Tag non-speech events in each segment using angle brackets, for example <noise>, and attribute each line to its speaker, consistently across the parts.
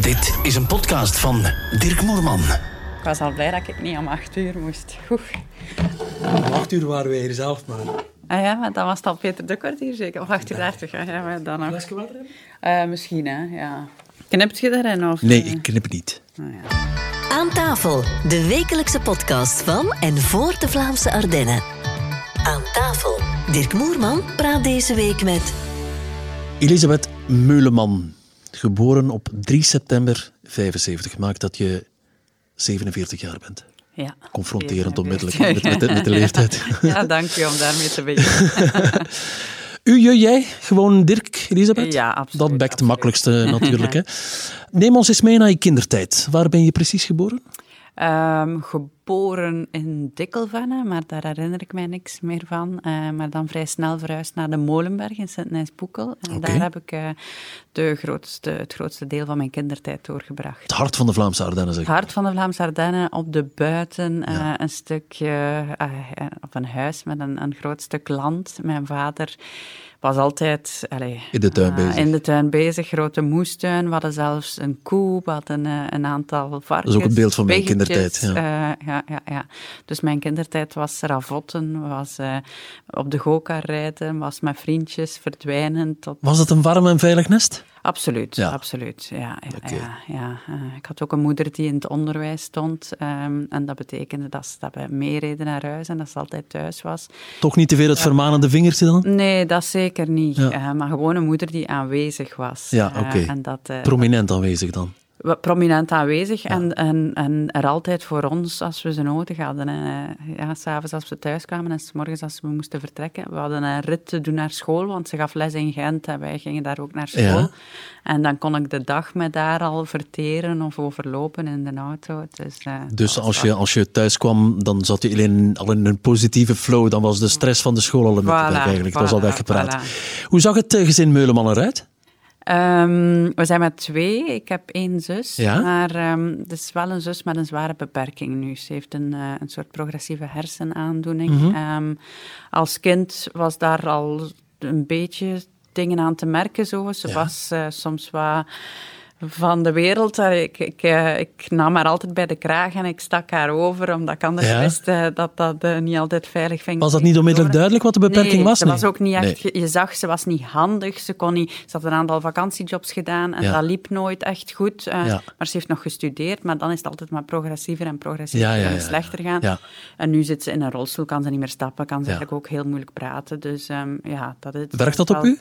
Speaker 1: Dit is een podcast van Dirk Moerman.
Speaker 2: Ik was al blij dat ik niet om acht uur moest. Oeh.
Speaker 3: Om acht uur waren wij hier zelf maar.
Speaker 2: Ah ja, maar dan was het al Peter de Kort hier zeker. Of 8 uur 30, hè? ja, maar dan nog.
Speaker 3: Flesje water hebben?
Speaker 2: Eh, misschien, hè, ja. Knipt je daarin? Of,
Speaker 4: Nee,
Speaker 2: eh,
Speaker 4: ik knip het niet.
Speaker 2: nou ja.
Speaker 5: Aan tafel, de wekelijkse podcast van en voor de Vlaamse Ardennen. Aan tafel, Dirk Moerman praat deze week met
Speaker 4: Elisabeth Meuleman, geboren op 3 september 75, maakt dat je 47 jaar bent.
Speaker 2: ja.
Speaker 4: Confronterend
Speaker 2: Even
Speaker 4: onmiddellijk
Speaker 2: een <laughs>
Speaker 4: met, met, de- met de
Speaker 3: <laughs>
Speaker 4: leeftijd.
Speaker 2: beetje. Ja, dank je om daarmee te beginnen.
Speaker 4: U, je, jij, gewoon Dirk, Elisabeth?
Speaker 2: Ja, absoluut,
Speaker 4: Dat bekt het
Speaker 2: absoluut. <laughs>
Speaker 4: makkelijkste natuurlijk. Hè. Neem ons eens mee naar je kindertijd. Waar ben je precies geboren?
Speaker 2: Ehm, geboren in Dikkelvenne, maar daar herinner ik mij niks meer van. Eh, maar dan vrij snel verhuisd naar de Molenberg in Sint-Nijs-Boekel. En
Speaker 4: Oké.
Speaker 2: daar heb ik eh, de grootste, het grootste deel van mijn kindertijd doorgebracht.
Speaker 4: Het hart van de Vlaamse Ardennen, zeg
Speaker 2: Het
Speaker 4: ik.
Speaker 2: hart van de Vlaamse Ardennen op de buiten, eh, een stukje, eh, eh, of een huis met een, een groot stuk land. Mijn vader was altijd allee,
Speaker 4: In de tuin
Speaker 2: eh,
Speaker 4: bezig.
Speaker 2: in de tuin bezig, grote moestuin. We hadden zelfs een koe, we hadden eh, een aantal varkens.
Speaker 4: ook het beeld van mijn
Speaker 2: piggetjes,
Speaker 4: kindertijd,
Speaker 2: eh, ja, ja, ja. Dus mijn kindertijd was ravotten, was eh, op de gokar rijden, was met vriendjes verdwijnen tot
Speaker 4: Was het een warm en veilig nest?
Speaker 2: Absoluut,
Speaker 4: Ja.
Speaker 2: absoluut. Ja, ja,
Speaker 4: Oké.
Speaker 2: ja, ja. Eh, ik had ook een moeder die in het onderwijs stond. ehm, en dat betekende dat ze dat we meereden naar huis en dat ze altijd thuis was.
Speaker 4: Toch niet te veel het vermanende vingertje dan?
Speaker 2: Nee, dat zeker niet.
Speaker 4: Ja.
Speaker 2: Eh, maar gewoon een moeder die aanwezig was.
Speaker 4: Ja,
Speaker 2: Eh,
Speaker 4: oké.
Speaker 2: en dat, eh,
Speaker 4: Prominent aanwezig dan.
Speaker 2: wa- prominent aanwezig en, en, en er altijd voor ons als we ze nodig hadden. En, eh, ja, s'avonds als we thuis kwamen en 's morgens als we moesten vertrekken. We hadden een rit te doen naar school, want ze gaf les in Gent en wij gingen daar ook naar school.
Speaker 4: Ja.
Speaker 2: En dan kon ik de dag met daar al verteren of overlopen in de auto. Dus, eh,
Speaker 4: Dus als je, als je thuis kwam, dan zat je alleen al in een positieve flow. Dan was de stress van de school al een beetje
Speaker 2: Mm. Voilà,
Speaker 4: weg eigenlijk. Dat was al
Speaker 2: voilà,
Speaker 4: weggepraat. Hoe zag het eh, gezin Meuleman eruit?
Speaker 2: Ehm, we zijn met twee. Ik heb één zus.
Speaker 4: Ja?
Speaker 2: Maar ehm, het is wel een zus met een zware beperking nu. Ze heeft een, eh, een soort progressieve hersenaandoening.
Speaker 4: Mhm.
Speaker 2: Ehm, als kind was daar al een beetje dingen aan te merken. Zo. Ze was eh, soms wat van de wereld. Eh, Ik, ik, eh, ik nam haar altijd bij de kraag en ik stak haar over, omdat ik anders
Speaker 4: Ja?
Speaker 2: wist eh, dat dat eh, niet altijd veilig ging.
Speaker 4: Was dat niet onmiddellijk duidelijk wat de beperking
Speaker 2: nee,
Speaker 4: was?
Speaker 2: Ze
Speaker 4: Nee.
Speaker 2: was ook niet echt.
Speaker 4: Nee.
Speaker 2: ge- Je zag, ze was niet handig. Ze, kon niet, ze had een aantal vakantiejobs gedaan en
Speaker 4: Ja.
Speaker 2: dat liep nooit echt goed. eh,
Speaker 4: Ja.
Speaker 2: Maar ze heeft nog gestudeerd, maar dan is het altijd maar progressiever en progressiever
Speaker 4: Ja, ja, ja,
Speaker 2: en slechter gaan.
Speaker 4: ja.
Speaker 2: En nu zit ze in een rolstoel, kan ze niet meer stappen, kan ze
Speaker 4: Ja.
Speaker 2: eigenlijk ook heel moeilijk praten. Dus ehm, ja, dat is.
Speaker 4: Werkt dat op
Speaker 2: wel-
Speaker 4: u?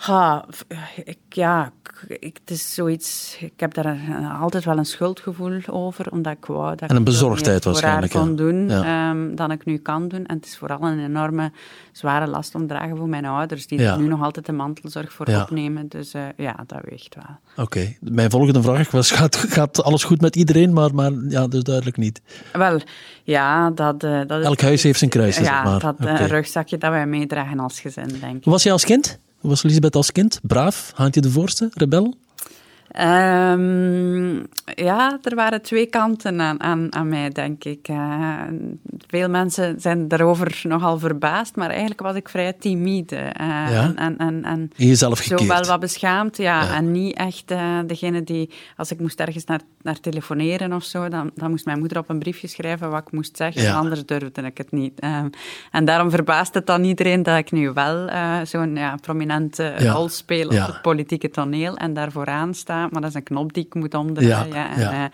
Speaker 2: Ha, v- ik, ja, ik, ik- het is zoiets. Ik heb daar een- altijd wel een schuldgevoel over, omdat ik wou dat
Speaker 4: En een
Speaker 2: ik veel
Speaker 4: bezorgdheid
Speaker 2: meer voor haar
Speaker 4: waarschijnlijk, ja.
Speaker 2: kon doen
Speaker 4: Ja.
Speaker 2: ehm, dan ik nu kan doen. En het is vooral een enorme zware last om te dragen voor mijn ouders, die
Speaker 4: Ja.
Speaker 2: er nu nog altijd de mantelzorg voor
Speaker 4: Ja.
Speaker 2: opnemen. Dus eh, ja, dat weegt wel.
Speaker 4: Oké. Mijn volgende vraag was, gaat, gaat alles goed met iedereen? Maar, maar ja, dus duidelijk niet.
Speaker 2: Wel, ja, dat, eh, dat is.
Speaker 4: Elk huis heeft zijn kruis, zeg
Speaker 2: ja,
Speaker 4: maar.
Speaker 2: dat eh,
Speaker 4: Oké.
Speaker 2: rugzakje dat wij meedragen als gezin, denk ik.
Speaker 4: Hoe was jij als kind? Hoe was Elisabeth als kind? Braaf? Haantje de voorste? Rebel?
Speaker 2: Ehm, ja, er waren twee kanten aan, aan, aan mij, denk ik. Eh, veel mensen zijn daarover nogal verbaasd, maar eigenlijk was ik vrij timide. eh, en, en, en, en
Speaker 4: In jezelf
Speaker 2: zo wel
Speaker 4: gekeerd?
Speaker 2: wat beschaamd, ja. En niet echt eh, degene die, als ik moest ergens naar, naar telefoneren of zo, dan, dan moest mijn moeder op een briefje schrijven wat ik moest zeggen,
Speaker 4: Ja.
Speaker 2: anders durfde ik het niet. Ehm, en daarom verbaast het dan iedereen dat ik nu wel eh, zo'n ja, prominente
Speaker 4: Ja.
Speaker 2: rol speel op
Speaker 4: Ja.
Speaker 2: het politieke toneel en daar vooraan sta. Maar dat is een knop die ik moet omdraaien.
Speaker 4: Ja,
Speaker 2: Ja, en,
Speaker 4: ja.
Speaker 2: eh,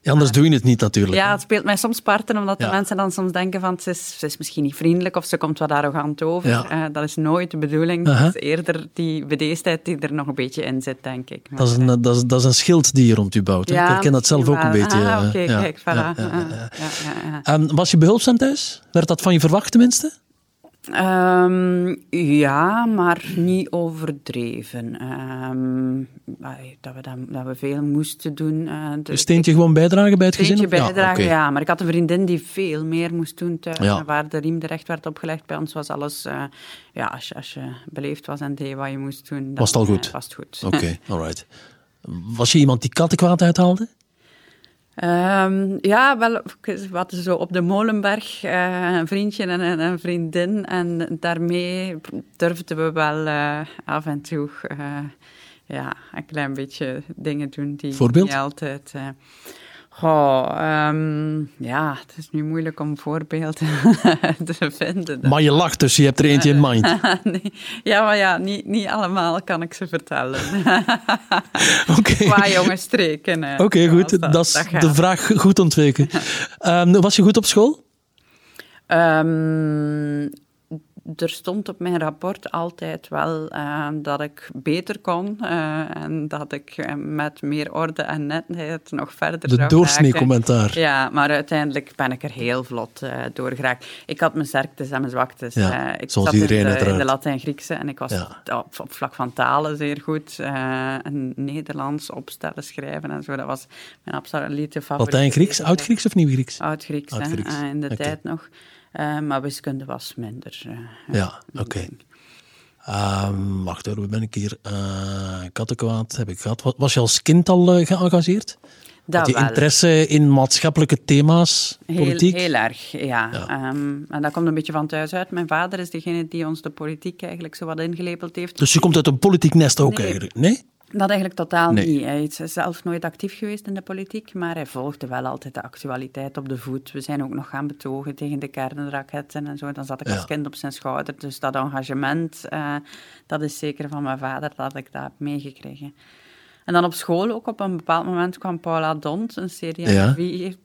Speaker 4: Ja, anders doe je het niet natuurlijk.
Speaker 2: ja, het speelt mij soms parten, omdat
Speaker 4: Ja.
Speaker 2: de mensen dan soms denken van ze is, ze is misschien niet vriendelijk of ze komt wat arrogant over.
Speaker 4: Ja.
Speaker 2: Eh, dat is nooit de bedoeling.
Speaker 4: Aha.
Speaker 2: Dat is eerder die bedeesdheid die er nog een beetje in zit, denk ik.
Speaker 4: Dat is, een, dat, is, dat is een schild die je rond u bouwt. hè?
Speaker 2: Ja,
Speaker 4: ik herken dat zelf ook
Speaker 2: misschien
Speaker 4: een
Speaker 2: wel.
Speaker 4: beetje.
Speaker 2: Ah,
Speaker 4: eh,
Speaker 2: oké,
Speaker 4: ja,
Speaker 2: kijk, voilà.
Speaker 4: ja, ja,
Speaker 2: Ah,
Speaker 4: ja.
Speaker 2: ja, ja, ja.
Speaker 4: Ehm, was je behulpzaam thuis? Werd dat van je verwacht tenminste?
Speaker 2: Ehm, ja, maar niet overdreven. Ehm, allee, dat, we dan, dat we veel moesten doen. eh, de-
Speaker 4: Een steentje gewoon bijdragen bij het gezin?
Speaker 2: Steentje bijdragen,
Speaker 4: oké.
Speaker 2: ja, Maar ik had een vriendin die veel meer moest doen thuis.
Speaker 4: Ja.
Speaker 2: En Waar de riem terecht werd opgelegd bij ons was alles... eh, ja, als je, als je beleefd was en deed wat je moest doen... dan,
Speaker 4: Was het al goed?
Speaker 2: eh, was het goed.
Speaker 4: Oké, alright. Was je iemand die kattenkwaad uithaalde?
Speaker 2: Ehm, ja, wel, we hadden zo op de Molenberg eh, een vriendje en een, een vriendin. En daarmee durfden we wel eh, af en toe eh, ja, een klein beetje dingen doen die
Speaker 4: Voorbeeld?
Speaker 2: niet altijd... eh, goh, ehm, ja, het is nu moeilijk om voorbeelden <laughs> te vinden.
Speaker 4: Maar je lacht dus, je hebt er eentje
Speaker 2: Eh,
Speaker 4: in mind.
Speaker 2: <laughs> Nee. Ja, maar ja, niet, niet allemaal kan ik ze
Speaker 4: <laughs>
Speaker 2: vertellen.
Speaker 4: Oké,
Speaker 2: Qua
Speaker 4: Oké,
Speaker 2: jonge streken. eh, zoals
Speaker 4: goed. Dat is
Speaker 2: gaat.
Speaker 4: de vraag goed
Speaker 2: <laughs>
Speaker 4: ontweken. Ehm, was je goed op school?
Speaker 2: Ehm, er stond op mijn rapport altijd wel eh, dat ik beter kon eh, en dat ik eh, met meer orde en netheid nog verder
Speaker 4: De
Speaker 2: zou raken.
Speaker 4: doorsnee-commentaar.
Speaker 2: Ja, maar uiteindelijk ben ik er heel vlot eh door geraakt. Ik had mijn sterktes en mijn zwaktes.
Speaker 4: Ja,
Speaker 2: Eh, ik
Speaker 4: zoals
Speaker 2: zat in
Speaker 4: iedereen
Speaker 2: de- in de,
Speaker 4: uiteraard.
Speaker 2: Latijn-Griekse en ik was
Speaker 4: Ja.
Speaker 2: op, op vlak van talen zeer goed. eh, en Nederlands opstellen, schrijven en zo. Dat was mijn absolute favoriet.
Speaker 4: Latijn-Grieks, Oud-Grieks of Nieuw-Grieks?
Speaker 2: Oud-Grieks, hè,
Speaker 4: Oud-Grieks,
Speaker 2: eh, in de
Speaker 4: oké.
Speaker 2: tijd nog. Eh, maar wiskunde was minder. eh,
Speaker 4: Ja, oké. Ehm, wacht hoor, hoe ben ik hier? Eh kattenkwaad heb ik gehad. Wa- Was je als kind al eh, geëngageerd?
Speaker 2: Dat
Speaker 4: Had je
Speaker 2: wel.
Speaker 4: interesse in maatschappelijke thema's, politiek?
Speaker 2: Heel, heel erg, ja. Ehm, en dat komt een beetje van thuis uit. Mijn vader is degene die ons de politiek eigenlijk zo wat ingelepeld heeft.
Speaker 4: Dus je komt uit een politiek nest ook
Speaker 2: Nee.
Speaker 4: eigenlijk? Nee?
Speaker 2: Dat eigenlijk totaal
Speaker 4: Nee.
Speaker 2: niet. Hij is zelf nooit actief geweest in de politiek, maar hij volgde wel altijd de actualiteit op de voet. We zijn ook nog gaan betogen tegen de kernraketten en zo. Dan zat ik
Speaker 4: Ja.
Speaker 2: als kind op zijn schouder. Dus dat engagement, eh, dat is zeker van mijn vader dat ik dat heb meegekregen. En dan op school ook, op een bepaald moment kwam Paula Dont, een serie
Speaker 4: Ja.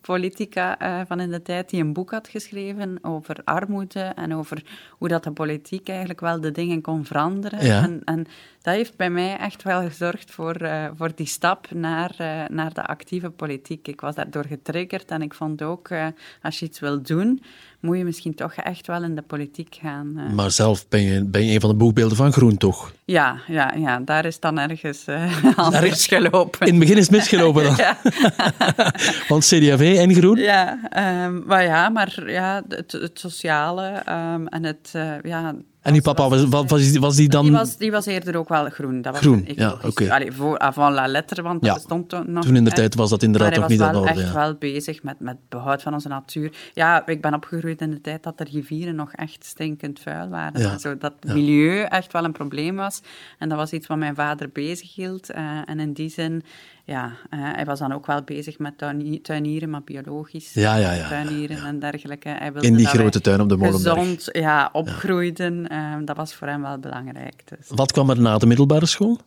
Speaker 2: politica eh, van in de tijd, die een boek had geschreven over armoede en over hoe dat de politiek eigenlijk wel de dingen kon veranderen.
Speaker 4: Ja.
Speaker 2: En, en dat heeft bij mij echt wel gezorgd voor, eh, voor die stap naar, eh, naar de actieve politiek. Ik was daardoor getriggerd en ik vond ook, eh, als je iets wil doen, moet je misschien toch echt wel in de politiek gaan. eh.
Speaker 4: Maar zelf ben je, ben je een van de boegbeelden van Groen, toch?
Speaker 2: Ja, ja, ja, daar is dan
Speaker 4: <laughs>
Speaker 2: ergens eh <laughs> anders gelopen.
Speaker 4: In het begin is het misgelopen dan.
Speaker 2: <laughs> Ja.
Speaker 4: <laughs> Want CDAV en Groen?
Speaker 2: Ja, ehm, maar ja, maar ja, het, het sociale ehm, en het, eh, ja...
Speaker 4: En die papa, was, was, was die- was die dan...
Speaker 2: Die was, die was eerder ook wel groen. Dat was
Speaker 4: Groen,
Speaker 2: een
Speaker 4: ja,
Speaker 2: ecologisch-
Speaker 4: oké.
Speaker 2: Allee, voor avant la letter, want
Speaker 4: Ja,
Speaker 2: dat stond toen nog.
Speaker 4: toen in de
Speaker 2: hè.
Speaker 4: tijd was dat inderdaad
Speaker 2: Maar
Speaker 4: nog niet
Speaker 2: hij
Speaker 4: aan
Speaker 2: was
Speaker 4: de
Speaker 2: wel
Speaker 4: orde.
Speaker 2: echt
Speaker 4: ja.
Speaker 2: wel bezig met, met behoud van onze natuur. Ja, ik ben opgegroeid in de tijd dat de rivieren nog echt stinkend vuil waren.
Speaker 4: Ja,
Speaker 2: En zo, dat milieu echt wel een probleem was. En dat was iets wat mijn vader bezig hield. en in die zin, ja, eh, hij was dan ook wel bezig met tuini- tuinieren, maar biologisch.
Speaker 4: Ja, ja, ja, ja,
Speaker 2: Tuinieren en dergelijke. Hij wilde
Speaker 4: In die
Speaker 2: dat wij
Speaker 4: grote tuin op de Molenberg.
Speaker 2: Gezond, ja, opgroeiden. Eh, dat was voor hem wel belangrijk. Dus.
Speaker 4: Wat kwam er na de middelbare school?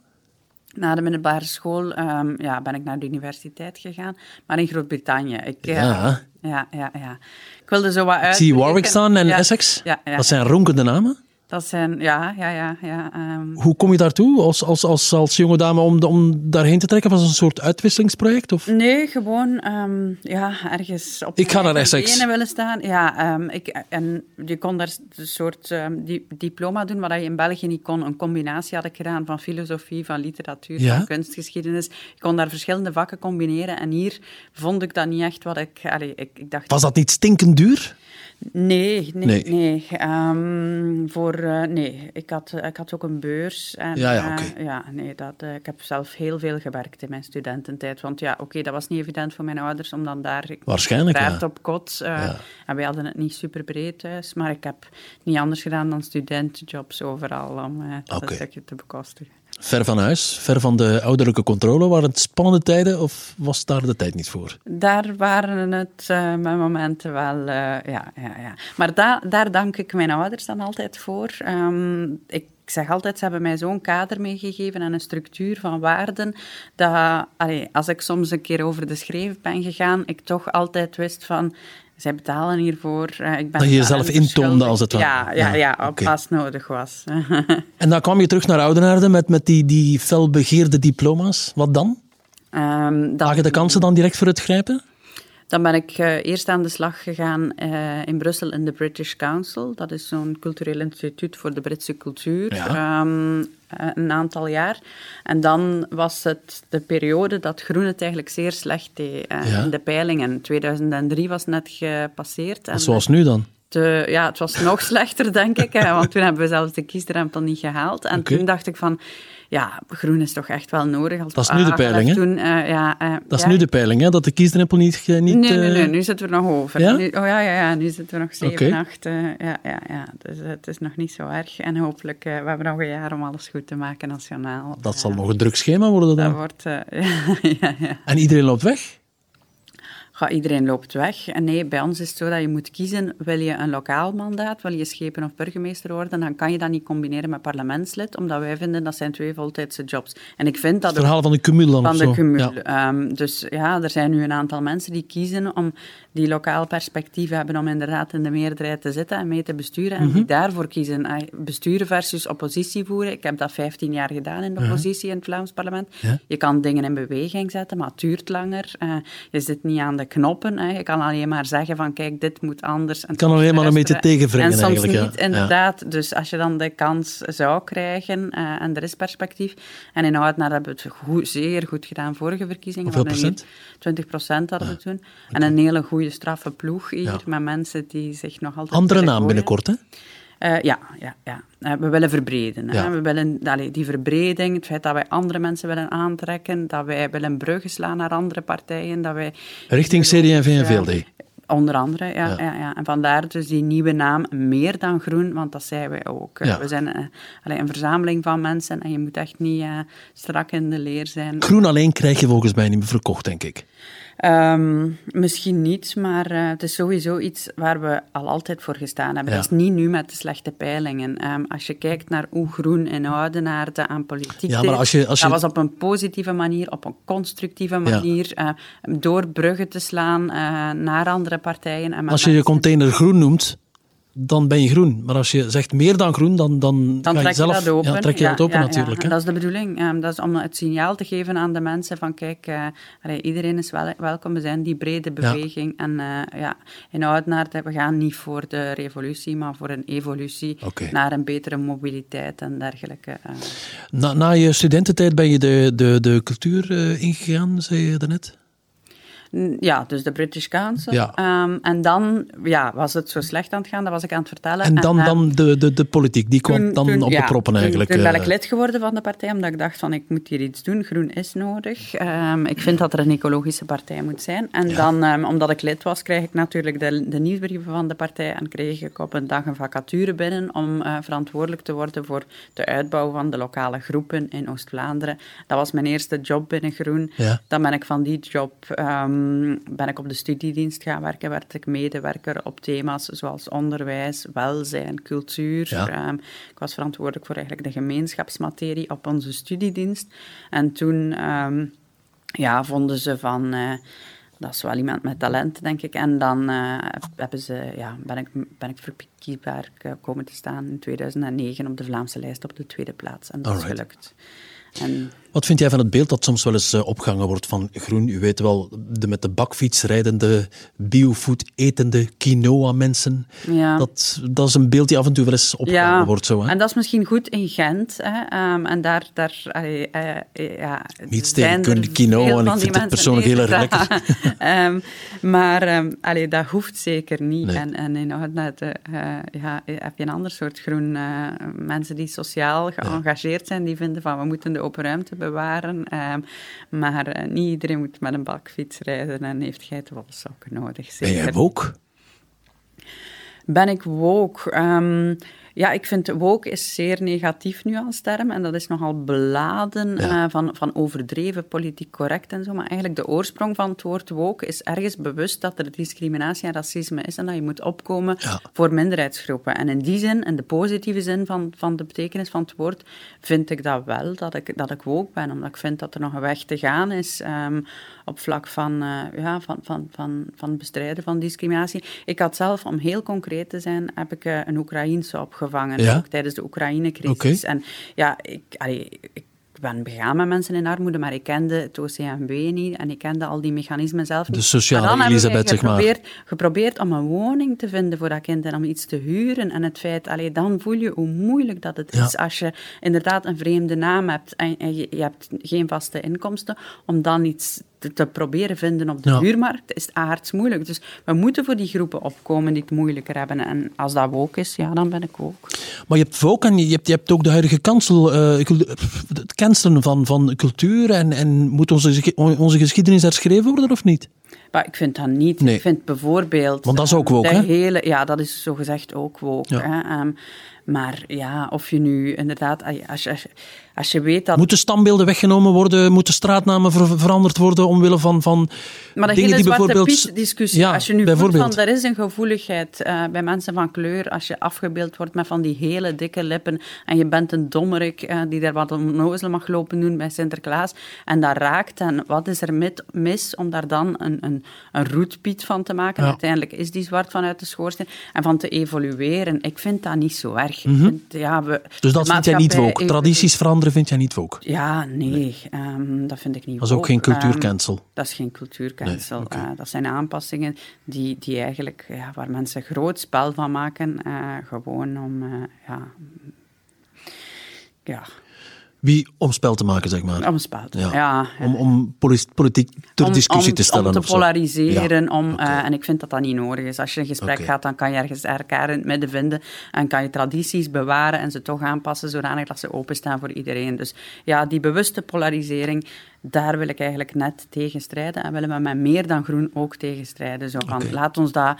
Speaker 2: Na de middelbare school ehm, ja, ben ik naar de universiteit gegaan, maar in Groot-Brittannië. Ik, eh,
Speaker 4: Ja.
Speaker 2: ja, ja, ja. Ik wilde zo wat uit.
Speaker 4: Zie je Warwick staan en Essex?
Speaker 2: Ja, ja,
Speaker 4: Dat zijn ronkende namen.
Speaker 2: dat zijn, ja, ja, ja. ja ehm,
Speaker 4: Hoe kom je daartoe als, als, als, als jonge dame om, om daarheen te trekken? Was het een soort uitwisselingsproject? Of?
Speaker 2: Nee, gewoon ehm, ja, ergens op
Speaker 4: Ik ga naar
Speaker 2: mijn eigen
Speaker 4: Essex.
Speaker 2: benen willen staan. Ja, ehm, ik, en je kon daar een soort ehm, di- diploma doen, wat je in België niet kon. Een combinatie had ik gedaan van filosofie, van literatuur,
Speaker 4: Ja?
Speaker 2: van kunstgeschiedenis. Ik kon daar verschillende vakken combineren. En hier vond ik dat niet echt wat ik... Allee, ik, ik dacht,
Speaker 4: Was dat niet stinkend duur?
Speaker 2: Nee, nee,
Speaker 4: Nee.
Speaker 2: nee. Ehm, voor, eh, nee. Ik, had, eh, ik had ook een beurs. En,
Speaker 4: Ja, ja,
Speaker 2: eh,
Speaker 4: oké.
Speaker 2: ja, nee, dat, eh, ik heb zelf heel veel gewerkt in mijn studententijd. Want ja, oké, dat was niet evident voor mijn ouders, om dan daar... Ik
Speaker 4: <laughs> Waarschijnlijk,
Speaker 2: uiteraard
Speaker 4: ja.
Speaker 2: op kot. eh,
Speaker 4: Ja.
Speaker 2: En wij hadden het niet super breed thuis. Maar ik heb niet anders gedaan dan studentenjobs overal, om eh dat
Speaker 4: Oké.
Speaker 2: stukje te bekostigen.
Speaker 4: Ver van huis, ver van de ouderlijke controle. Waren het spannende tijden of was daar de tijd niet voor?
Speaker 2: Daar waren het eh, mijn momenten wel, eh, ja, ja, ja. Maar da- daar dank ik mijn ouders dan altijd voor. Ehm, ik zeg altijd, ze hebben mij zo'n kader meegegeven en een structuur van waarden, dat allee, als ik soms een keer over de schreef ben gegaan, ik toch altijd wist van, zij betalen hiervoor. eh, ik ben
Speaker 4: Dat je jezelf
Speaker 2: daaraan verschuldigd.
Speaker 4: intoomde, als het ware.
Speaker 2: Ja, ja,
Speaker 4: Ja,
Speaker 2: ja, op-
Speaker 4: oké.
Speaker 2: als nodig was. <laughs> Ehm,
Speaker 4: En dan kwam je terug naar Oudenaarde met, met die, die felbegeerde diploma's. Wat dan?
Speaker 2: Ehm, dat-
Speaker 4: Lagen de kansen dan direct voor het grijpen?
Speaker 2: Dan ben ik eh, eerst aan de slag gegaan eh, in Brussel in de British Council. Dat is zo'n cultureel instituut voor de Britse cultuur.
Speaker 4: Ja.
Speaker 2: Ehm, eh, een aantal jaar. En dan was het de periode dat Groen het eigenlijk zeer slecht deed eh,
Speaker 4: Ja.
Speaker 2: in de peilingen. 2003 was net gepasseerd. En
Speaker 4: Zoals nu dan.
Speaker 2: het de, ja, het was nog <laughs> slechter, denk ik. Hè, want toen hebben we zelfs de kiesdrempel niet gehaald. En
Speaker 4: Oké.
Speaker 2: toen dacht ik van, ja, groen is toch echt wel nodig. Als
Speaker 4: Dat is nu de
Speaker 2: aangelegd
Speaker 4: peiling, hè?
Speaker 2: Toen, eh, ja, eh,
Speaker 4: Dat is
Speaker 2: ja.
Speaker 4: nu de peiling, hè? dat de kiesdrempel niet... ge- niet
Speaker 2: Nee, nee,
Speaker 4: eh,
Speaker 2: nee, nu zitten we nog over.
Speaker 4: Ja?
Speaker 2: Nu, oh ja, ja, ja, nu zitten we nog zeven,
Speaker 4: Oké.
Speaker 2: acht. eh, ja, ja, ja. Dus eh, het is nog niet zo erg. En hopelijk, eh we hebben nog een jaar om alles goed te maken nationaal.
Speaker 4: Dat
Speaker 2: Ja,
Speaker 4: zal nog een druk schema worden
Speaker 2: Dat
Speaker 4: dan.
Speaker 2: wordt... eh, <laughs> ja, ja.
Speaker 4: En iedereen loopt weg?
Speaker 2: Goh, iedereen loopt weg. En nee, bij ons is het zo dat je moet kiezen, wil je een lokaal mandaat, wil je schepen of burgemeester worden, dan kan je dat niet combineren met parlementslid, omdat wij vinden dat zijn twee voltijdse jobs. En ik vind dat...
Speaker 4: Het
Speaker 2: ook-
Speaker 4: verhaal van de cumul dan of
Speaker 2: van
Speaker 4: zo.
Speaker 2: de cumul.
Speaker 4: Ja.
Speaker 2: Ehm, dus ja, er zijn nu een aantal mensen die kiezen om die lokaal perspectief hebben om inderdaad in de meerderheid te zitten en mee te besturen. En die
Speaker 4: Mhm.
Speaker 2: daarvoor kiezen. Ah, Besturen versus oppositie voeren. Ik heb dat 15 jaar gedaan in de oppositie in het Vlaams parlement.
Speaker 4: Mhm. Ja.
Speaker 2: Je kan dingen in beweging zetten, maar het duurt langer. Eh, je zit niet aan de knoppen. hè. Je kan alleen maar zeggen van kijk, dit moet anders. En
Speaker 4: kan
Speaker 2: soms
Speaker 4: alleen maar een beetje
Speaker 2: luisteren.
Speaker 4: tegenwringen
Speaker 2: En soms
Speaker 4: eigenlijk, ja.
Speaker 2: niet,
Speaker 4: Ja.
Speaker 2: inderdaad. Dus als je dan de kans zou krijgen eh, en er is perspectief. En in Oudenaar hebben we het goed, zeer goed gedaan vorige verkiezingen.
Speaker 4: Hoeveel Ah,
Speaker 2: We hadden hier 20 procent hadden we toen. En een hele goede straffe ploeg hier,
Speaker 4: Ja.
Speaker 2: met mensen die zich nog altijd...
Speaker 4: Andere
Speaker 2: willen
Speaker 4: naam
Speaker 2: gooien.
Speaker 4: binnenkort, hè?
Speaker 2: Eh, ja, ja, ja. Eh, we willen verbreden.
Speaker 4: Ja.
Speaker 2: Hè? We willen allee, die verbreding, het feit dat wij andere mensen willen aantrekken, dat wij willen bruggen slaan naar andere partijen, dat wij...
Speaker 4: Richting CD&V en
Speaker 2: Ja.
Speaker 4: VLD.
Speaker 2: Onder andere, ja,
Speaker 4: Ja.
Speaker 2: ja. Ja, En vandaar dus die nieuwe naam Meer dan Groen, want dat zijn wij ook.
Speaker 4: Ja.
Speaker 2: We zijn eh, allee, een verzameling van mensen en je moet echt niet eh, strak in de leer zijn.
Speaker 4: Groen alleen krijg je volgens mij niet meer verkocht, denk ik.
Speaker 2: Ehm, misschien niet, maar eh, het is sowieso iets waar we al altijd voor gestaan hebben.
Speaker 4: Ja.
Speaker 2: Dat is niet nu met de slechte peilingen. Ehm, als je kijkt naar hoe groen en Oudenaar de aan politiek
Speaker 4: Ja, maar
Speaker 2: deed,
Speaker 4: als je- als je-
Speaker 2: dat was op een positieve manier, op een constructieve manier, eh, door bruggen te slaan eh, naar andere partijen. En met
Speaker 4: Als je je
Speaker 2: mensen-
Speaker 4: container groen noemt, dan ben je groen. Maar als je zegt meer dan groen, dan, dan,
Speaker 2: dan
Speaker 4: ga je
Speaker 2: trek je
Speaker 4: zelf,
Speaker 2: dat open.
Speaker 4: Ja, trek je dat open natuurlijk.
Speaker 2: En
Speaker 4: hè.
Speaker 2: dat is de bedoeling. Ehm, dat is om het signaal te geven aan de mensen van kijk, eh, allee, iedereen is wel, welkom. We zijn die brede beweging. En eh, ja, in Oudenaard, eh, we gaan niet voor de revolutie, maar voor een evolutie
Speaker 4: Oké.
Speaker 2: naar een betere mobiliteit en dergelijke. eh.
Speaker 4: Na, na je studententijd ben je de, de, de cultuur eh, ingegaan, zei je daarnet.
Speaker 2: N- Ja, dus de British Council.
Speaker 4: Ja.
Speaker 2: Ehm, en dan ja, was het zo slecht aan het gaan, dat was ik aan het vertellen.
Speaker 4: En dan,
Speaker 2: eh,
Speaker 4: dan de, de, de politiek, die kwam
Speaker 2: Toen-
Speaker 4: dan
Speaker 2: toen-
Speaker 4: op
Speaker 2: ja,
Speaker 4: de proppen
Speaker 2: toen-
Speaker 4: eigenlijk.
Speaker 2: Toen, ben
Speaker 4: eh.
Speaker 2: ik lid geworden van de partij, omdat ik dacht van ik moet hier iets doen, groen is nodig. Ehm, ik vind dat er een ecologische partij moet zijn. En dan, ehm, omdat ik lid was, kreeg ik natuurlijk de, de nieuwsbrieven van de partij en kreeg ik op een dag een vacature binnen om eh, verantwoordelijk te worden voor de uitbouw van de lokale groepen in Oost-Vlaanderen. Dat was mijn eerste job binnen Groen.
Speaker 4: Ja.
Speaker 2: Dan ben ik van die job ehm, ben ik op de studiedienst gaan werken, werd ik medewerker op thema's zoals onderwijs, welzijn, cultuur.
Speaker 4: Ja.
Speaker 2: Ehm, ik was verantwoordelijk voor eigenlijk de gemeenschapsmaterie op onze studiedienst. En toen ehm, ja, vonden ze van, eh, dat is wel iemand met talent, denk ik. En dan eh, hebben ze, ja, ben, ik, ben ik verkiesbaar eh, komen te staan in 2009 op de Vlaamse lijst op de tweede plaats. En dat is
Speaker 4: Alright.
Speaker 2: gelukt. En
Speaker 4: Wat vind jij van het beeld dat soms wel eens eh, opgehangen wordt van groen? U weet wel, de met de bakfiets rijdende, biofood etende quinoa-mensen.
Speaker 2: Ja.
Speaker 4: Dat, dat is een beeld die af en toe wel eens opgehangen wordt. Zo, hè?
Speaker 2: En dat is misschien goed in Gent. Hè? Ehm, en daar, daar allee, eh, eh, ja,
Speaker 4: Niets
Speaker 2: zijn
Speaker 4: tegen
Speaker 2: er
Speaker 4: kunnen quinoa,
Speaker 2: veel
Speaker 4: en ik
Speaker 2: van die
Speaker 4: vind het
Speaker 2: mensen.
Speaker 4: persoonlijk heel erg
Speaker 2: dat- <laughs> Ehm, maar ehm, allee, dat hoeft zeker niet.
Speaker 4: Nee.
Speaker 2: En, en in Oudenaarde eh, ja, heb je een ander soort groen. eh, mensen die sociaal geëngageerd zijn, die vinden van we moeten de open ruimte bewaren. ehm, maar eh, niet iedereen moet met een bakfiets rijden en heeft geitenwolsokken nodig.
Speaker 4: ben
Speaker 2: Zeker
Speaker 4: jij ook?
Speaker 2: ben ik woke? Ehm, ja, ik vind woke is zeer negatief nu als term. En dat is nogal beladen
Speaker 4: Ja.
Speaker 2: eh, van, van overdreven politiek correct en zo. Maar eigenlijk de oorsprong van het woord woke is ergens bewust dat er discriminatie en racisme is. En dat je moet opkomen
Speaker 4: Ja.
Speaker 2: voor minderheidsgroepen. En in die zin, in de positieve zin van, van de betekenis van het woord, vind ik dat wel, dat ik, dat ik woke ben. Omdat ik vind dat er nog een weg te gaan is ehm, op vlak van, eh, ja, van, van, van, van het bestrijden van discriminatie. Ik had zelf, om heel concreet te zijn, heb ik eh, een Oekraïense opgevangen,
Speaker 4: Ja?
Speaker 2: ook tijdens de Oekraïne-crisis. En ja, ik... allee, ik ben begaan met mensen in armoede, maar ik kende het OCMW niet en ik kende al die mechanismen zelf niet.
Speaker 4: De sociale
Speaker 2: Maar dan hebben wij
Speaker 4: Elisabeth, zeg maar.
Speaker 2: geprobeerd geprobeerd om een woning te vinden voor dat kind en om iets te huren. En het feit, allee, dan voel je hoe moeilijk dat het
Speaker 4: Ja.
Speaker 2: is als je inderdaad een vreemde naam hebt en, en je, je hebt geen vaste inkomsten, om dan iets te, te proberen vinden op de
Speaker 4: Ja.
Speaker 2: huurmarkt, is het aards moeilijk. Dus we moeten voor die groepen opkomen die het moeilijker hebben. En als dat ook is, ja, dan ben ik ook.
Speaker 4: Maar je hebt ook, en je hebt, je hebt ook de huidige kansel, eh, cul- het cancelen van, van cultuur. En, en moet onze, gesche- onze geschiedenis herschreven worden of niet?
Speaker 2: Maar ik vind dat niet.
Speaker 4: Nee.
Speaker 2: Ik vind bijvoorbeeld...
Speaker 4: Want dat is ook
Speaker 2: ehm,
Speaker 4: woke,
Speaker 2: de
Speaker 4: hè?
Speaker 2: Hele, ja, dat is zogezegd ook woke.
Speaker 4: Ja.
Speaker 2: Hè? ehm, maar ja, of je nu inderdaad... Als je, als je, als je weet dat...
Speaker 4: Moeten standbeelden weggenomen worden? Moeten straatnamen ver- veranderd worden omwille van, van
Speaker 2: Maar dat dus
Speaker 4: dingen
Speaker 2: hele
Speaker 4: die
Speaker 2: Zwarte
Speaker 4: bijvoorbeeld...
Speaker 2: Piet-discussie,
Speaker 4: Ja,
Speaker 2: als je nu voelt
Speaker 4: bijvoorbeeld.
Speaker 2: van, er is een gevoeligheid eh, bij mensen van kleur, als je afgebeeld wordt met van die hele dikke lippen en je bent een dommerik eh, die daar wat onnozel mag lopen doen bij Sinterklaas en dat raakt, en wat is er mit- mis om daar dan een, een, een roetpiet van te maken?
Speaker 4: Ja.
Speaker 2: Uiteindelijk is die zwart vanuit de schoorsteen en van te evolueren. Ik vind dat niet zo erg. Ik vind, ja, we,
Speaker 4: Mhm. Dus dat
Speaker 2: de
Speaker 4: vind jij niet
Speaker 2: maatschappij
Speaker 4: woke? Tradities veranderen vind jij niet woke?
Speaker 2: ja, nee, ehm, dat vind ik niet.
Speaker 4: Dat is ook
Speaker 2: woke.
Speaker 4: geen cultuurcancel.
Speaker 2: cultuurcancel. dat is geen cultuurcancel.
Speaker 4: Nee, oké.
Speaker 2: Eh, dat zijn aanpassingen die, die eigenlijk, ja, waar mensen groot spel van maken, eh, gewoon om, eh, ja, ja,
Speaker 4: Wie om spel te maken, zeg maar.
Speaker 2: om spel. te-
Speaker 4: Ja.
Speaker 2: ja,
Speaker 4: Om, om polis- politiek ter
Speaker 2: om-
Speaker 4: discussie
Speaker 2: om-
Speaker 4: te stellen.
Speaker 2: Om te
Speaker 4: of zo.
Speaker 2: polariseren.
Speaker 4: Ja.
Speaker 2: Om, eh, en ik vind dat dat niet nodig is. Als je een gesprek
Speaker 4: Oké.
Speaker 2: gaat, dan kan je ergens elkaar in het midden vinden. En kan je tradities bewaren en ze toch aanpassen zodanig dat ze openstaan voor iedereen. Dus ja, die bewuste polarisering, daar wil ik eigenlijk net tegen strijden. En willen we met meer dan groen ook tegen strijden. Zo van,
Speaker 4: Oké.
Speaker 2: laat, ons dat,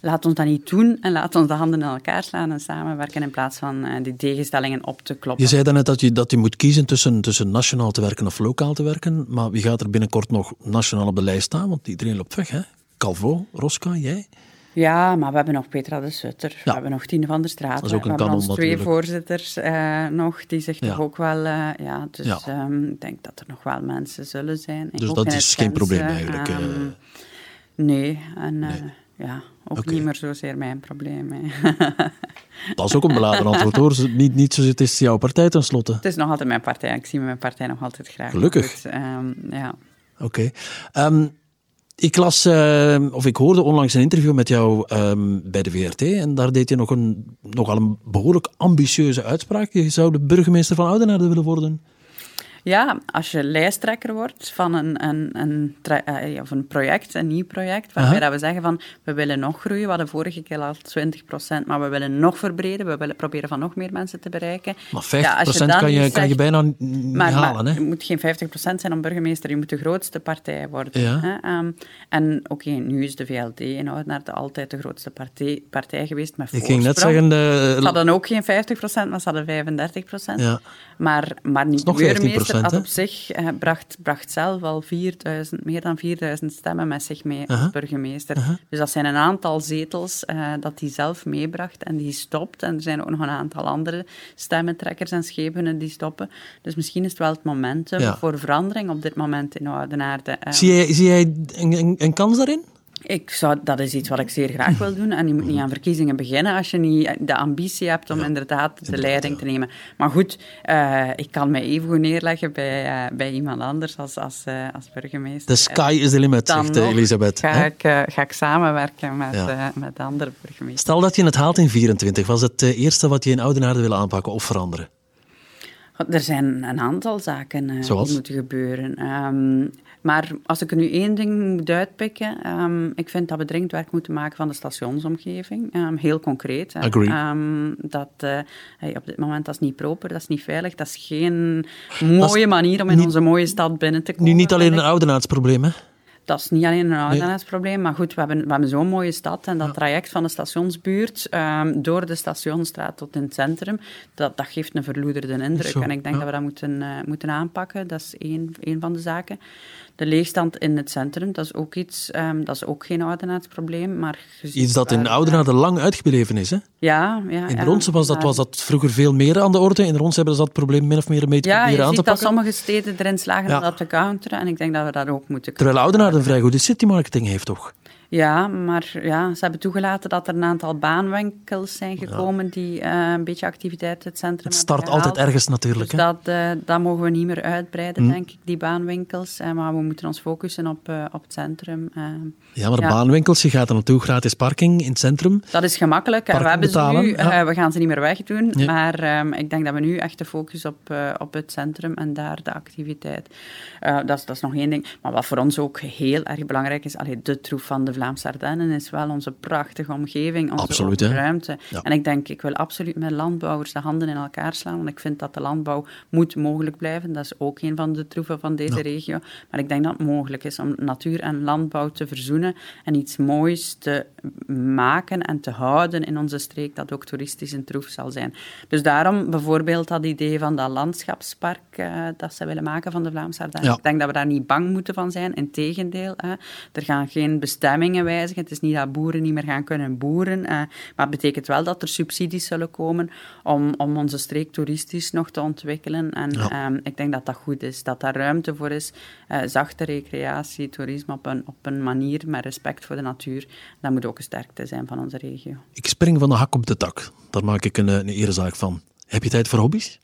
Speaker 2: laat ons dat niet doen en laat ons de handen in elkaar slaan en samenwerken in plaats van eh, die tegenstellingen op te kloppen.
Speaker 4: Je zei daarnet dat je, dat je moet kiezen tussen, tussen nationaal te werken of lokaal te werken. Maar wie gaat er binnenkort nog nationaal op de lijst staan? Want iedereen loopt weg, hè? Calvo, Rosca, jij.
Speaker 2: Ja, maar we hebben nog Petra de Sutter.
Speaker 4: Ja.
Speaker 2: We hebben nog Tine van der Straat.
Speaker 4: Dat is ook
Speaker 2: we
Speaker 4: een
Speaker 2: hebben
Speaker 4: kanon
Speaker 2: ons twee
Speaker 4: natuurlijk.
Speaker 2: voorzitters eh, nog, die zich
Speaker 4: Ja.
Speaker 2: toch ook wel... eh, ja, dus
Speaker 4: Ja.
Speaker 2: ehm, ik denk dat er nog wel mensen zullen zijn. Ik
Speaker 4: Dus
Speaker 2: ook
Speaker 4: dat
Speaker 2: in het
Speaker 4: is geen
Speaker 2: Gentse,
Speaker 4: probleem eigenlijk,
Speaker 2: ehm,
Speaker 4: eh.
Speaker 2: nee, en eh, ja, ook
Speaker 4: Oké.
Speaker 2: niet meer zozeer mijn probleem. hè. <laughs>
Speaker 4: Dat is ook een beladen antwoord, hoor. Ze- Niet, niet zozeer, het is jouw partij tenslotte.
Speaker 2: het is nog altijd mijn partij. Ik zie mijn partij nog altijd graag.
Speaker 4: Gelukkig.
Speaker 2: Goed, ehm, ja.
Speaker 4: Oké. Ehm, ik las, ehm, of ik hoorde onlangs een interview met jou ehm, bij de VRT. En daar deed je nog een, nogal een behoorlijk ambitieuze uitspraak. Je zou de burgemeester van Oudenaarde willen worden.
Speaker 2: Ja, als je lijsttrekker wordt van een, een, een, tra- eh, of een project, een nieuw project, waarbij
Speaker 4: Aha.
Speaker 2: dat we zeggen van we willen nog groeien, we hadden vorige keer al 20%, maar we willen nog verbreden, we willen proberen van nog meer mensen te bereiken.
Speaker 4: Maar 50%
Speaker 2: Ja, als dan
Speaker 4: kan, je,
Speaker 2: niet
Speaker 4: kan je
Speaker 2: zegt-
Speaker 4: bijna n- niet
Speaker 2: maar,
Speaker 4: halen,
Speaker 2: maar
Speaker 4: hè?
Speaker 2: je moet geen 50% zijn om burgemeester, je moet de grootste partij worden.
Speaker 4: Ja.
Speaker 2: hè. Ehm, en oké, nu is de VLD in Oudenaarde altijd de grootste partij, partij geweest, met
Speaker 4: Ik ging net
Speaker 2: voorsprong.
Speaker 4: zeggen...
Speaker 2: Ze
Speaker 4: eh,
Speaker 2: hadden ook geen 50%, maar ze hadden 35%.
Speaker 4: Ja.
Speaker 2: Maar, maar nu
Speaker 4: nog
Speaker 2: de
Speaker 4: 15%,
Speaker 2: burgemeester had
Speaker 4: hè?
Speaker 2: op zich, eh, bracht, bracht zelf al 4000, meer dan 4000 stemmen met zich mee als burgemeester. Dus dat zijn een aantal zetels eh, dat hij zelf meebracht en die stopt. En er zijn ook nog een aantal andere stemmentrekkers en schepenen die stoppen. Dus misschien is het wel het momentum
Speaker 4: Ja.
Speaker 2: voor verandering op dit moment in Oudenaarde. Eh,
Speaker 4: Zie jij, zie jij een, een, een kans daarin?
Speaker 2: ik zou, dat is iets wat ik zeer graag wil doen. En je moet niet aan verkiezingen beginnen als je niet de ambitie hebt om inderdaad de leiding te nemen. Maar goed, eh, ik kan mij even goed neerleggen bij, eh, bij iemand anders als, als, eh, als burgemeester.
Speaker 4: The sky is the limit,
Speaker 2: Dan
Speaker 4: zegt eh,
Speaker 2: nog
Speaker 4: Elisabeth.
Speaker 2: Ga
Speaker 4: hè?
Speaker 2: ik, eh, ga ik samenwerken met,
Speaker 4: Ja.
Speaker 2: eh, met de andere burgemeester.
Speaker 4: Stel dat je het haalt in 24. Wat is het eh, eerste wat je in Oudenaarde wil aanpakken of veranderen?
Speaker 2: God, Er zijn een aantal zaken eh,
Speaker 4: Zoals?
Speaker 2: die moeten gebeuren. Ehm, maar als ik er nu één ding moet uitpikken, ehm, ik vind dat we dringend werk moeten maken van de stationsomgeving. Ehm, heel concreet. hè.
Speaker 4: Agree.
Speaker 2: Ehm, dat, eh, hey, op dit moment dat is niet proper, dat is niet veilig, dat is geen mooie manier om in onze mooie stad binnen te komen.
Speaker 4: Nu niet alleen
Speaker 2: vind
Speaker 4: een
Speaker 2: ik.
Speaker 4: Oudenaarsprobleem, hè?
Speaker 2: Dat is niet alleen een ouderaarsprobleem, maar goed, we hebben, we hebben zo'n mooie stad en dat traject van de stationsbuurt ehm, door de stationsstraat tot in het centrum, dat, dat geeft een verloederde indruk.
Speaker 4: zo,
Speaker 2: en ik denk
Speaker 4: ja.
Speaker 2: dat we dat moeten, eh, moeten aanpakken. Dat is één, één van de zaken. De leegstand in het centrum, dat is ook iets, ehm, dat is ook geen ouderaarsprobleem, maar... je ziet
Speaker 4: Iets dat in
Speaker 2: waar-
Speaker 4: Oudenaarde lang uitgebleven is, hè?
Speaker 2: Ja, ja.
Speaker 4: In
Speaker 2: ja,
Speaker 4: Ronsen was dat,
Speaker 2: maar-
Speaker 4: was dat vroeger veel meer aan de orde. In Ronsen hebben ze dat probleem min of meer mee te
Speaker 2: Ja, je
Speaker 4: proberen aan te
Speaker 2: ziet dat
Speaker 4: pakken.
Speaker 2: sommige steden erin slagen
Speaker 4: Ja.
Speaker 2: om dat te counteren en ik denk dat we dat ook moeten
Speaker 4: Terwijl Oudenaarde een vrij goede citymarketing heeft, toch?
Speaker 2: Ja, maar ja, ze hebben toegelaten dat er een aantal baanwinkels zijn gekomen die eh, een beetje activiteit het centrum
Speaker 4: Het
Speaker 2: hebben
Speaker 4: start altijd
Speaker 2: gehaald.
Speaker 4: ergens natuurlijk.
Speaker 2: Dus
Speaker 4: Hè? Hm.
Speaker 2: dat, eh, dat mogen we niet meer uitbreiden, denk ik, die baanwinkels. Eh, maar we moeten ons focussen op, eh, op het centrum. eh.
Speaker 4: Ja, maar de
Speaker 2: ja.
Speaker 4: baanwinkels, je gaat er naartoe, gratis parking in het centrum.
Speaker 2: Dat is gemakkelijk. en we
Speaker 4: Parken
Speaker 2: hebben
Speaker 4: betalen,
Speaker 2: ze nu.
Speaker 4: ja.
Speaker 2: eh, we gaan ze niet meer wegdoen.
Speaker 4: Ja.
Speaker 2: Maar ehm, ik denk dat we nu echt de focus op, eh, op het centrum en daar de activiteit. Eh, dat, is, dat is nog één ding. Maar wat voor ons ook heel erg belangrijk is, allee, de troef van de Vlaamse Ardennen is wel onze prachtige omgeving, onze
Speaker 4: Absoluut,
Speaker 2: open
Speaker 4: hè.
Speaker 2: ruimte.
Speaker 4: Ja.
Speaker 2: En ik denk, ik wil absoluut met landbouwers de handen in elkaar slaan, want ik vind dat de landbouw moet mogelijk blijven. Dat is ook een van de troeven van deze regio. Maar ik denk dat het mogelijk is om natuur en landbouw te verzoenen en iets moois te maken en te houden in onze streek, dat ook toeristisch een troef zal zijn. Dus daarom bijvoorbeeld dat idee van dat landschapspark eh, dat ze willen maken van de Vlaamse Ardennen.
Speaker 4: Ja.
Speaker 2: Ik denk dat we daar niet bang moeten van zijn. Integendeel, hè. er gaan geen bestemmingen wijzigen. Het is niet dat boeren niet meer gaan kunnen boeren. eh, maar het betekent wel dat er subsidies zullen komen om, om onze streek toeristisch nog te ontwikkelen. En
Speaker 4: Ja.
Speaker 2: ehm, ik denk dat dat goed is, dat daar ruimte voor is. eh, zachte recreatie, toerisme op een, op een manier met respect voor de natuur. Dat moet ook een sterkte zijn van onze regio.
Speaker 4: Ik spring van de hak op de tak. Daar maak ik een, eh, een erezaak van. Heb je tijd voor hobby's?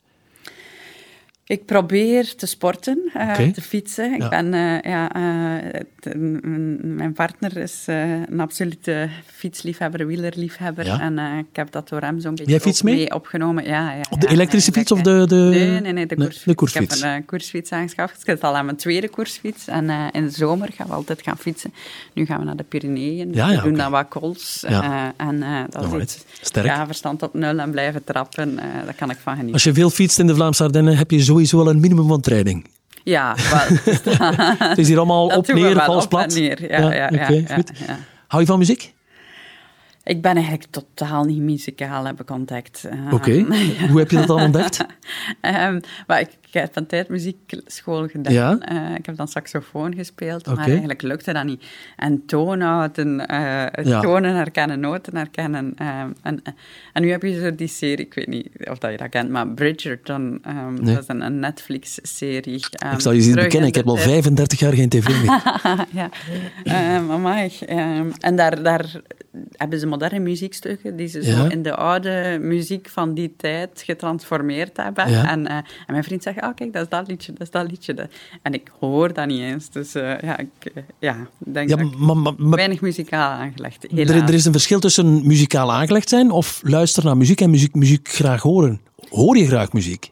Speaker 2: Ik probeer te sporten, eh,
Speaker 4: Oké.
Speaker 2: te fietsen. Ik
Speaker 4: Ja.
Speaker 2: ben, eh, ja, eh, het- m- m- mijn partner is eh, een absolute fietsliefhebber, wielerliefhebber.
Speaker 4: Ja.
Speaker 2: en eh, ik heb dat door hem zo'n beetje
Speaker 4: Jij fietst
Speaker 2: ook
Speaker 4: mee?
Speaker 2: opgenomen. Ja, ja,
Speaker 4: Op de
Speaker 2: ja,
Speaker 4: elektrische fiets of de-
Speaker 2: eigenlijk,
Speaker 4: de-
Speaker 2: eh, Nee, nee, nee, de
Speaker 4: Nee,
Speaker 2: koersfiets.
Speaker 4: de koersfiets.
Speaker 2: Ik heb een eh, koersfiets aangeschaft. Ik zit al aan mijn tweede koersfiets. En eh, in de zomer gaan we altijd gaan fietsen. Nu gaan we naar de Pyreneeën.
Speaker 4: Ja,
Speaker 2: we
Speaker 4: ja,
Speaker 2: doen
Speaker 4: oké.
Speaker 2: dan wat calls.
Speaker 4: Ja.
Speaker 2: eh, en eh, dat is
Speaker 4: Alright.
Speaker 2: iets.
Speaker 4: Sterk.
Speaker 2: Ja, verstand op nul en blijven trappen. eh, daar kan ik van genieten.
Speaker 4: Als je veel fietst in de Vlaamse Ardennen, heb je sowieso wel een minimum van training.
Speaker 2: Ja, wel.
Speaker 4: Het is hier allemaal
Speaker 2: <laughs> Dat
Speaker 4: op,
Speaker 2: doen we
Speaker 4: neer,
Speaker 2: wel,
Speaker 4: vals
Speaker 2: op
Speaker 4: plat.
Speaker 2: en neer. Ja, ja, ja,
Speaker 4: oké,
Speaker 2: ja,
Speaker 4: goed.
Speaker 2: ja.
Speaker 4: Hou je van muziek?
Speaker 2: Ik ben eigenlijk totaal niet muzikaal, heb ik ontdekt. Eh,
Speaker 4: Oké. Hoe heb je dat dan ontdekt?
Speaker 2: <laughs> ehm, maar ik, ik heb een tijd muziekschool gedaan.
Speaker 4: Ja?
Speaker 2: Eh, ik heb dan saxofoon gespeeld,
Speaker 4: Oké.
Speaker 2: maar eigenlijk lukte dat niet. En toonhouden, eh het
Speaker 4: Ja.
Speaker 2: tonen herkennen, noten herkennen. ehm, en, en nu heb je zo die serie, ik weet niet of dat je dat kent, maar Bridgerton, ehm,
Speaker 4: Nee.
Speaker 2: dat is een, een Netflix-serie. ehm,
Speaker 4: ik zal je zien
Speaker 2: terug in
Speaker 4: bekennen, ik
Speaker 2: de
Speaker 4: heb al
Speaker 2: tijd.
Speaker 4: 35 jaar geen tv
Speaker 2: <laughs>
Speaker 4: meer.
Speaker 2: ja, Ehm amai. Ehm, en daar, daar hebben ze moderne muziekstukken die ze zo
Speaker 4: Ja.
Speaker 2: in de oude muziek van die tijd getransformeerd hebben.
Speaker 4: Ja.
Speaker 2: En, eh, en mijn vriend zegt, ah kijk, dat is dat liedje, dat is dat liedje. Dat- En ik hoor dat niet eens. Dus eh, ja, ik eh, ja, denk
Speaker 4: Ja,
Speaker 2: dat ik
Speaker 4: maar, maar, maar
Speaker 2: weinig muzikaal aangelegd.
Speaker 4: er,
Speaker 2: helaas.
Speaker 4: er is een verschil tussen muzikaal aangelegd zijn of luisteren naar muziek en muziek, muziek graag horen. Hoor je graag muziek?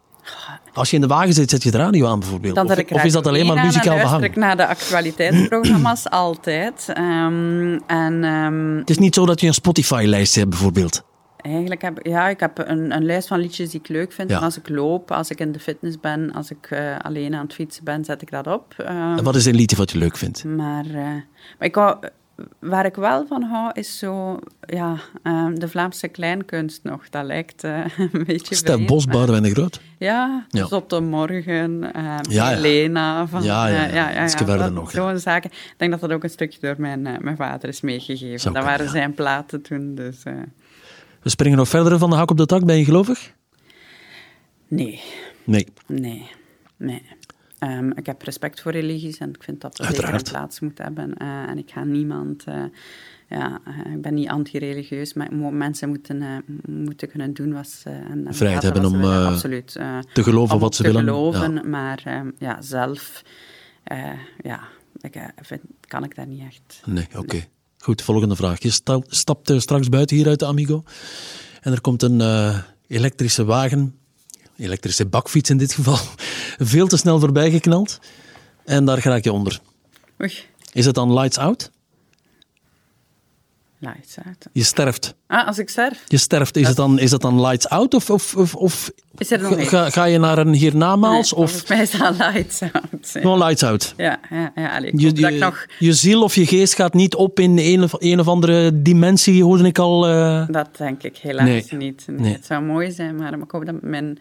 Speaker 4: Als je in de wagen zit, zet je de radio aan bijvoorbeeld.
Speaker 2: Dan
Speaker 4: Of,
Speaker 2: zet ik
Speaker 4: of is dat
Speaker 2: Radio
Speaker 4: alleen
Speaker 2: 1
Speaker 4: maar
Speaker 2: aan en
Speaker 4: muzikaal
Speaker 2: nou, luister
Speaker 4: behang?
Speaker 2: ik naar de actualiteitsprogramma's <clears throat> altijd. Ehm, en ehm,
Speaker 4: Het is niet zo dat je een Spotify-lijst hebt bijvoorbeeld.
Speaker 2: Eigenlijk heb ja, ik heb een, een lijst van liedjes die ik leuk vind.
Speaker 4: Ja.
Speaker 2: En als ik loop, als ik in de fitness ben, als ik eh, alleen aan het fietsen ben, zet ik dat op. Ehm,
Speaker 4: En wat is een liedje wat je leuk vindt?
Speaker 2: maar eh, maar ik hou, waar ik wel van hou, is zo ja, ehm, de Vlaamse kleinkunst nog. Dat lijkt eh, <laughs> een beetje
Speaker 4: Stef
Speaker 2: vreemd,
Speaker 4: Bos,
Speaker 2: maar-
Speaker 4: Boudewijn de Groot.
Speaker 2: ja,
Speaker 4: Ja.
Speaker 2: Zotte Morgen, eh
Speaker 4: ja.
Speaker 2: Helena. Van,
Speaker 4: Ja, ja,
Speaker 2: eh,
Speaker 4: ja, Ietske verder
Speaker 2: dat-
Speaker 4: nog, ja.
Speaker 2: Zo'n zaken. Ik denk dat dat ook een stukje door mijn, eh, mijn vader is meegegeven.
Speaker 4: Zou kunnen,
Speaker 2: dat waren
Speaker 4: ja.
Speaker 2: zijn platen toen, dus... eh,
Speaker 4: We springen nog verder van de hak op de tak, ben je gelovig?
Speaker 2: nee,
Speaker 4: Nee.
Speaker 2: Nee, nee. Ehm, ik heb respect voor religies en ik vind dat dat zeker een
Speaker 4: Uiteraard.
Speaker 2: plaats moet hebben. Eh, en ik ga niemand... eh, ja, eh, ik ben niet anti-religieus, maar mo- mensen moeten, eh, moeten kunnen doen wat ze... En, en
Speaker 4: Vrijheid
Speaker 2: laten
Speaker 4: hebben
Speaker 2: wat ze
Speaker 4: om,
Speaker 2: willen.
Speaker 4: eh,
Speaker 2: Absoluut. eh,
Speaker 4: te geloven
Speaker 2: om
Speaker 4: wat ze
Speaker 2: te
Speaker 4: willen,
Speaker 2: geloven,
Speaker 4: ja.
Speaker 2: maar ehm, ja, zelf... eh, ja, ik, eh, vind, kan ik daar niet echt...
Speaker 4: Nee, oké. Goed, volgende vraag. Je sta- stapt eh, straks buiten hier uit de Amigo. En er komt een eh, elektrische wagen, elektrische bakfiets in dit geval, <laughs> veel te snel voorbij geknald. En daar raak je onder.
Speaker 2: Oei,
Speaker 4: Is het dan lights out?
Speaker 2: lights uit.
Speaker 4: Je sterft.
Speaker 2: Ah, als ik sterf,
Speaker 4: Je sterft. Is, het, dan, is het dan lights out? Of, of, of, of
Speaker 2: is er nog
Speaker 4: ga,
Speaker 2: iets?
Speaker 4: ga- ga je naar een hiernamaals?
Speaker 2: Nee,
Speaker 4: of
Speaker 2: Volgens mij is dat lights out.
Speaker 4: gewoon lights out?
Speaker 2: Ja, ja, ja. Allee, ik
Speaker 4: Je,
Speaker 2: hoop dat ik
Speaker 4: je,
Speaker 2: nog...
Speaker 4: je ziel of je geest gaat niet op in een of, een of andere dimensie, hoorde ik al. eh.
Speaker 2: Dat denk ik helaas
Speaker 4: Nee.
Speaker 2: niet. Nee,
Speaker 4: Nee.
Speaker 2: Het zou mooi zijn, maar ik hoop dat, mijn,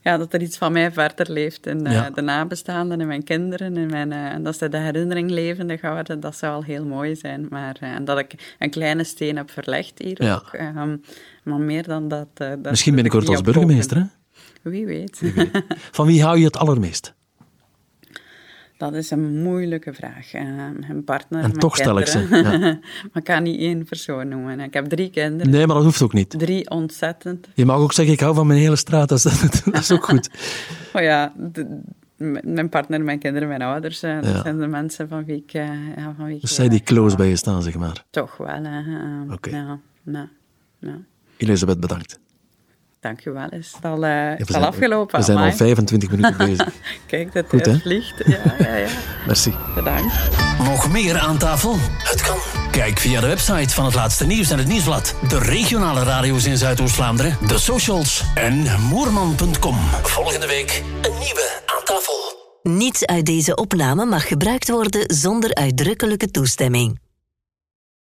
Speaker 2: ja, dat er iets van mij verder leeft. En
Speaker 4: Ja.
Speaker 2: de nabestaanden en mijn kinderen. En, mijn, eh, en dat ze de herinnering levendig houden. Dat zou al heel mooi zijn. Maar, eh, en dat ik een kleine steen heb verlegd hier
Speaker 4: Ja.
Speaker 2: ook. ehm, maar meer dan dat... eh, dat
Speaker 4: Misschien
Speaker 2: wil ik
Speaker 4: binnenkort
Speaker 2: niet
Speaker 4: als
Speaker 2: op hopen.
Speaker 4: burgemeester, hè?
Speaker 2: Wie weet.
Speaker 4: Van wie hou je het allermeest?
Speaker 2: <laughs> Dat is een moeilijke vraag. Eh, mijn partner,
Speaker 4: En
Speaker 2: mijn
Speaker 4: toch stel ik
Speaker 2: kinderen.
Speaker 4: ze,
Speaker 2: <laughs> maar ik kan niet één persoon noemen. Ik heb drie kinderen,
Speaker 4: Nee, maar dat hoeft ook niet.
Speaker 2: drie ontzettend.
Speaker 4: Je mag ook zeggen, ik hou van mijn hele straat. Dat is, <laughs> dat is ook goed.
Speaker 2: Oh ja, de- m- mijn partner, mijn kinderen, mijn ouders, eh, dat
Speaker 4: Ja.
Speaker 2: zijn de mensen van wie ik... eh, ja, van wie ik
Speaker 4: Dus
Speaker 2: heel
Speaker 4: zij die
Speaker 2: erg
Speaker 4: close
Speaker 2: hou.
Speaker 4: bij je staan, zeg maar.
Speaker 2: Toch wel, hè. eh,
Speaker 4: Oké.
Speaker 2: Ja, ja, ja.
Speaker 4: Elisabeth, bedankt.
Speaker 2: Dankjewel, is het al, eh,
Speaker 4: Ja,
Speaker 2: is het al afgelopen?
Speaker 4: We zijn al
Speaker 2: Amai.
Speaker 4: 25 minuten
Speaker 2: <laughs>
Speaker 4: bezig.
Speaker 2: Kijk, dat
Speaker 4: Goed,
Speaker 2: Goed,
Speaker 4: hè?
Speaker 2: vliegt. Ja, ja, ja.
Speaker 4: <laughs> Merci.
Speaker 2: Bedankt.
Speaker 1: Nog meer aan tafel? Het kan. Kijk via de website van het laatste nieuws en het nieuwsblad. De regionale radio's in Zuidoost-Vlaanderen, de socials en moerman.com. Volgende week een nieuwe aan tafel.
Speaker 5: Niets uit deze opname mag gebruikt worden zonder uitdrukkelijke toestemming.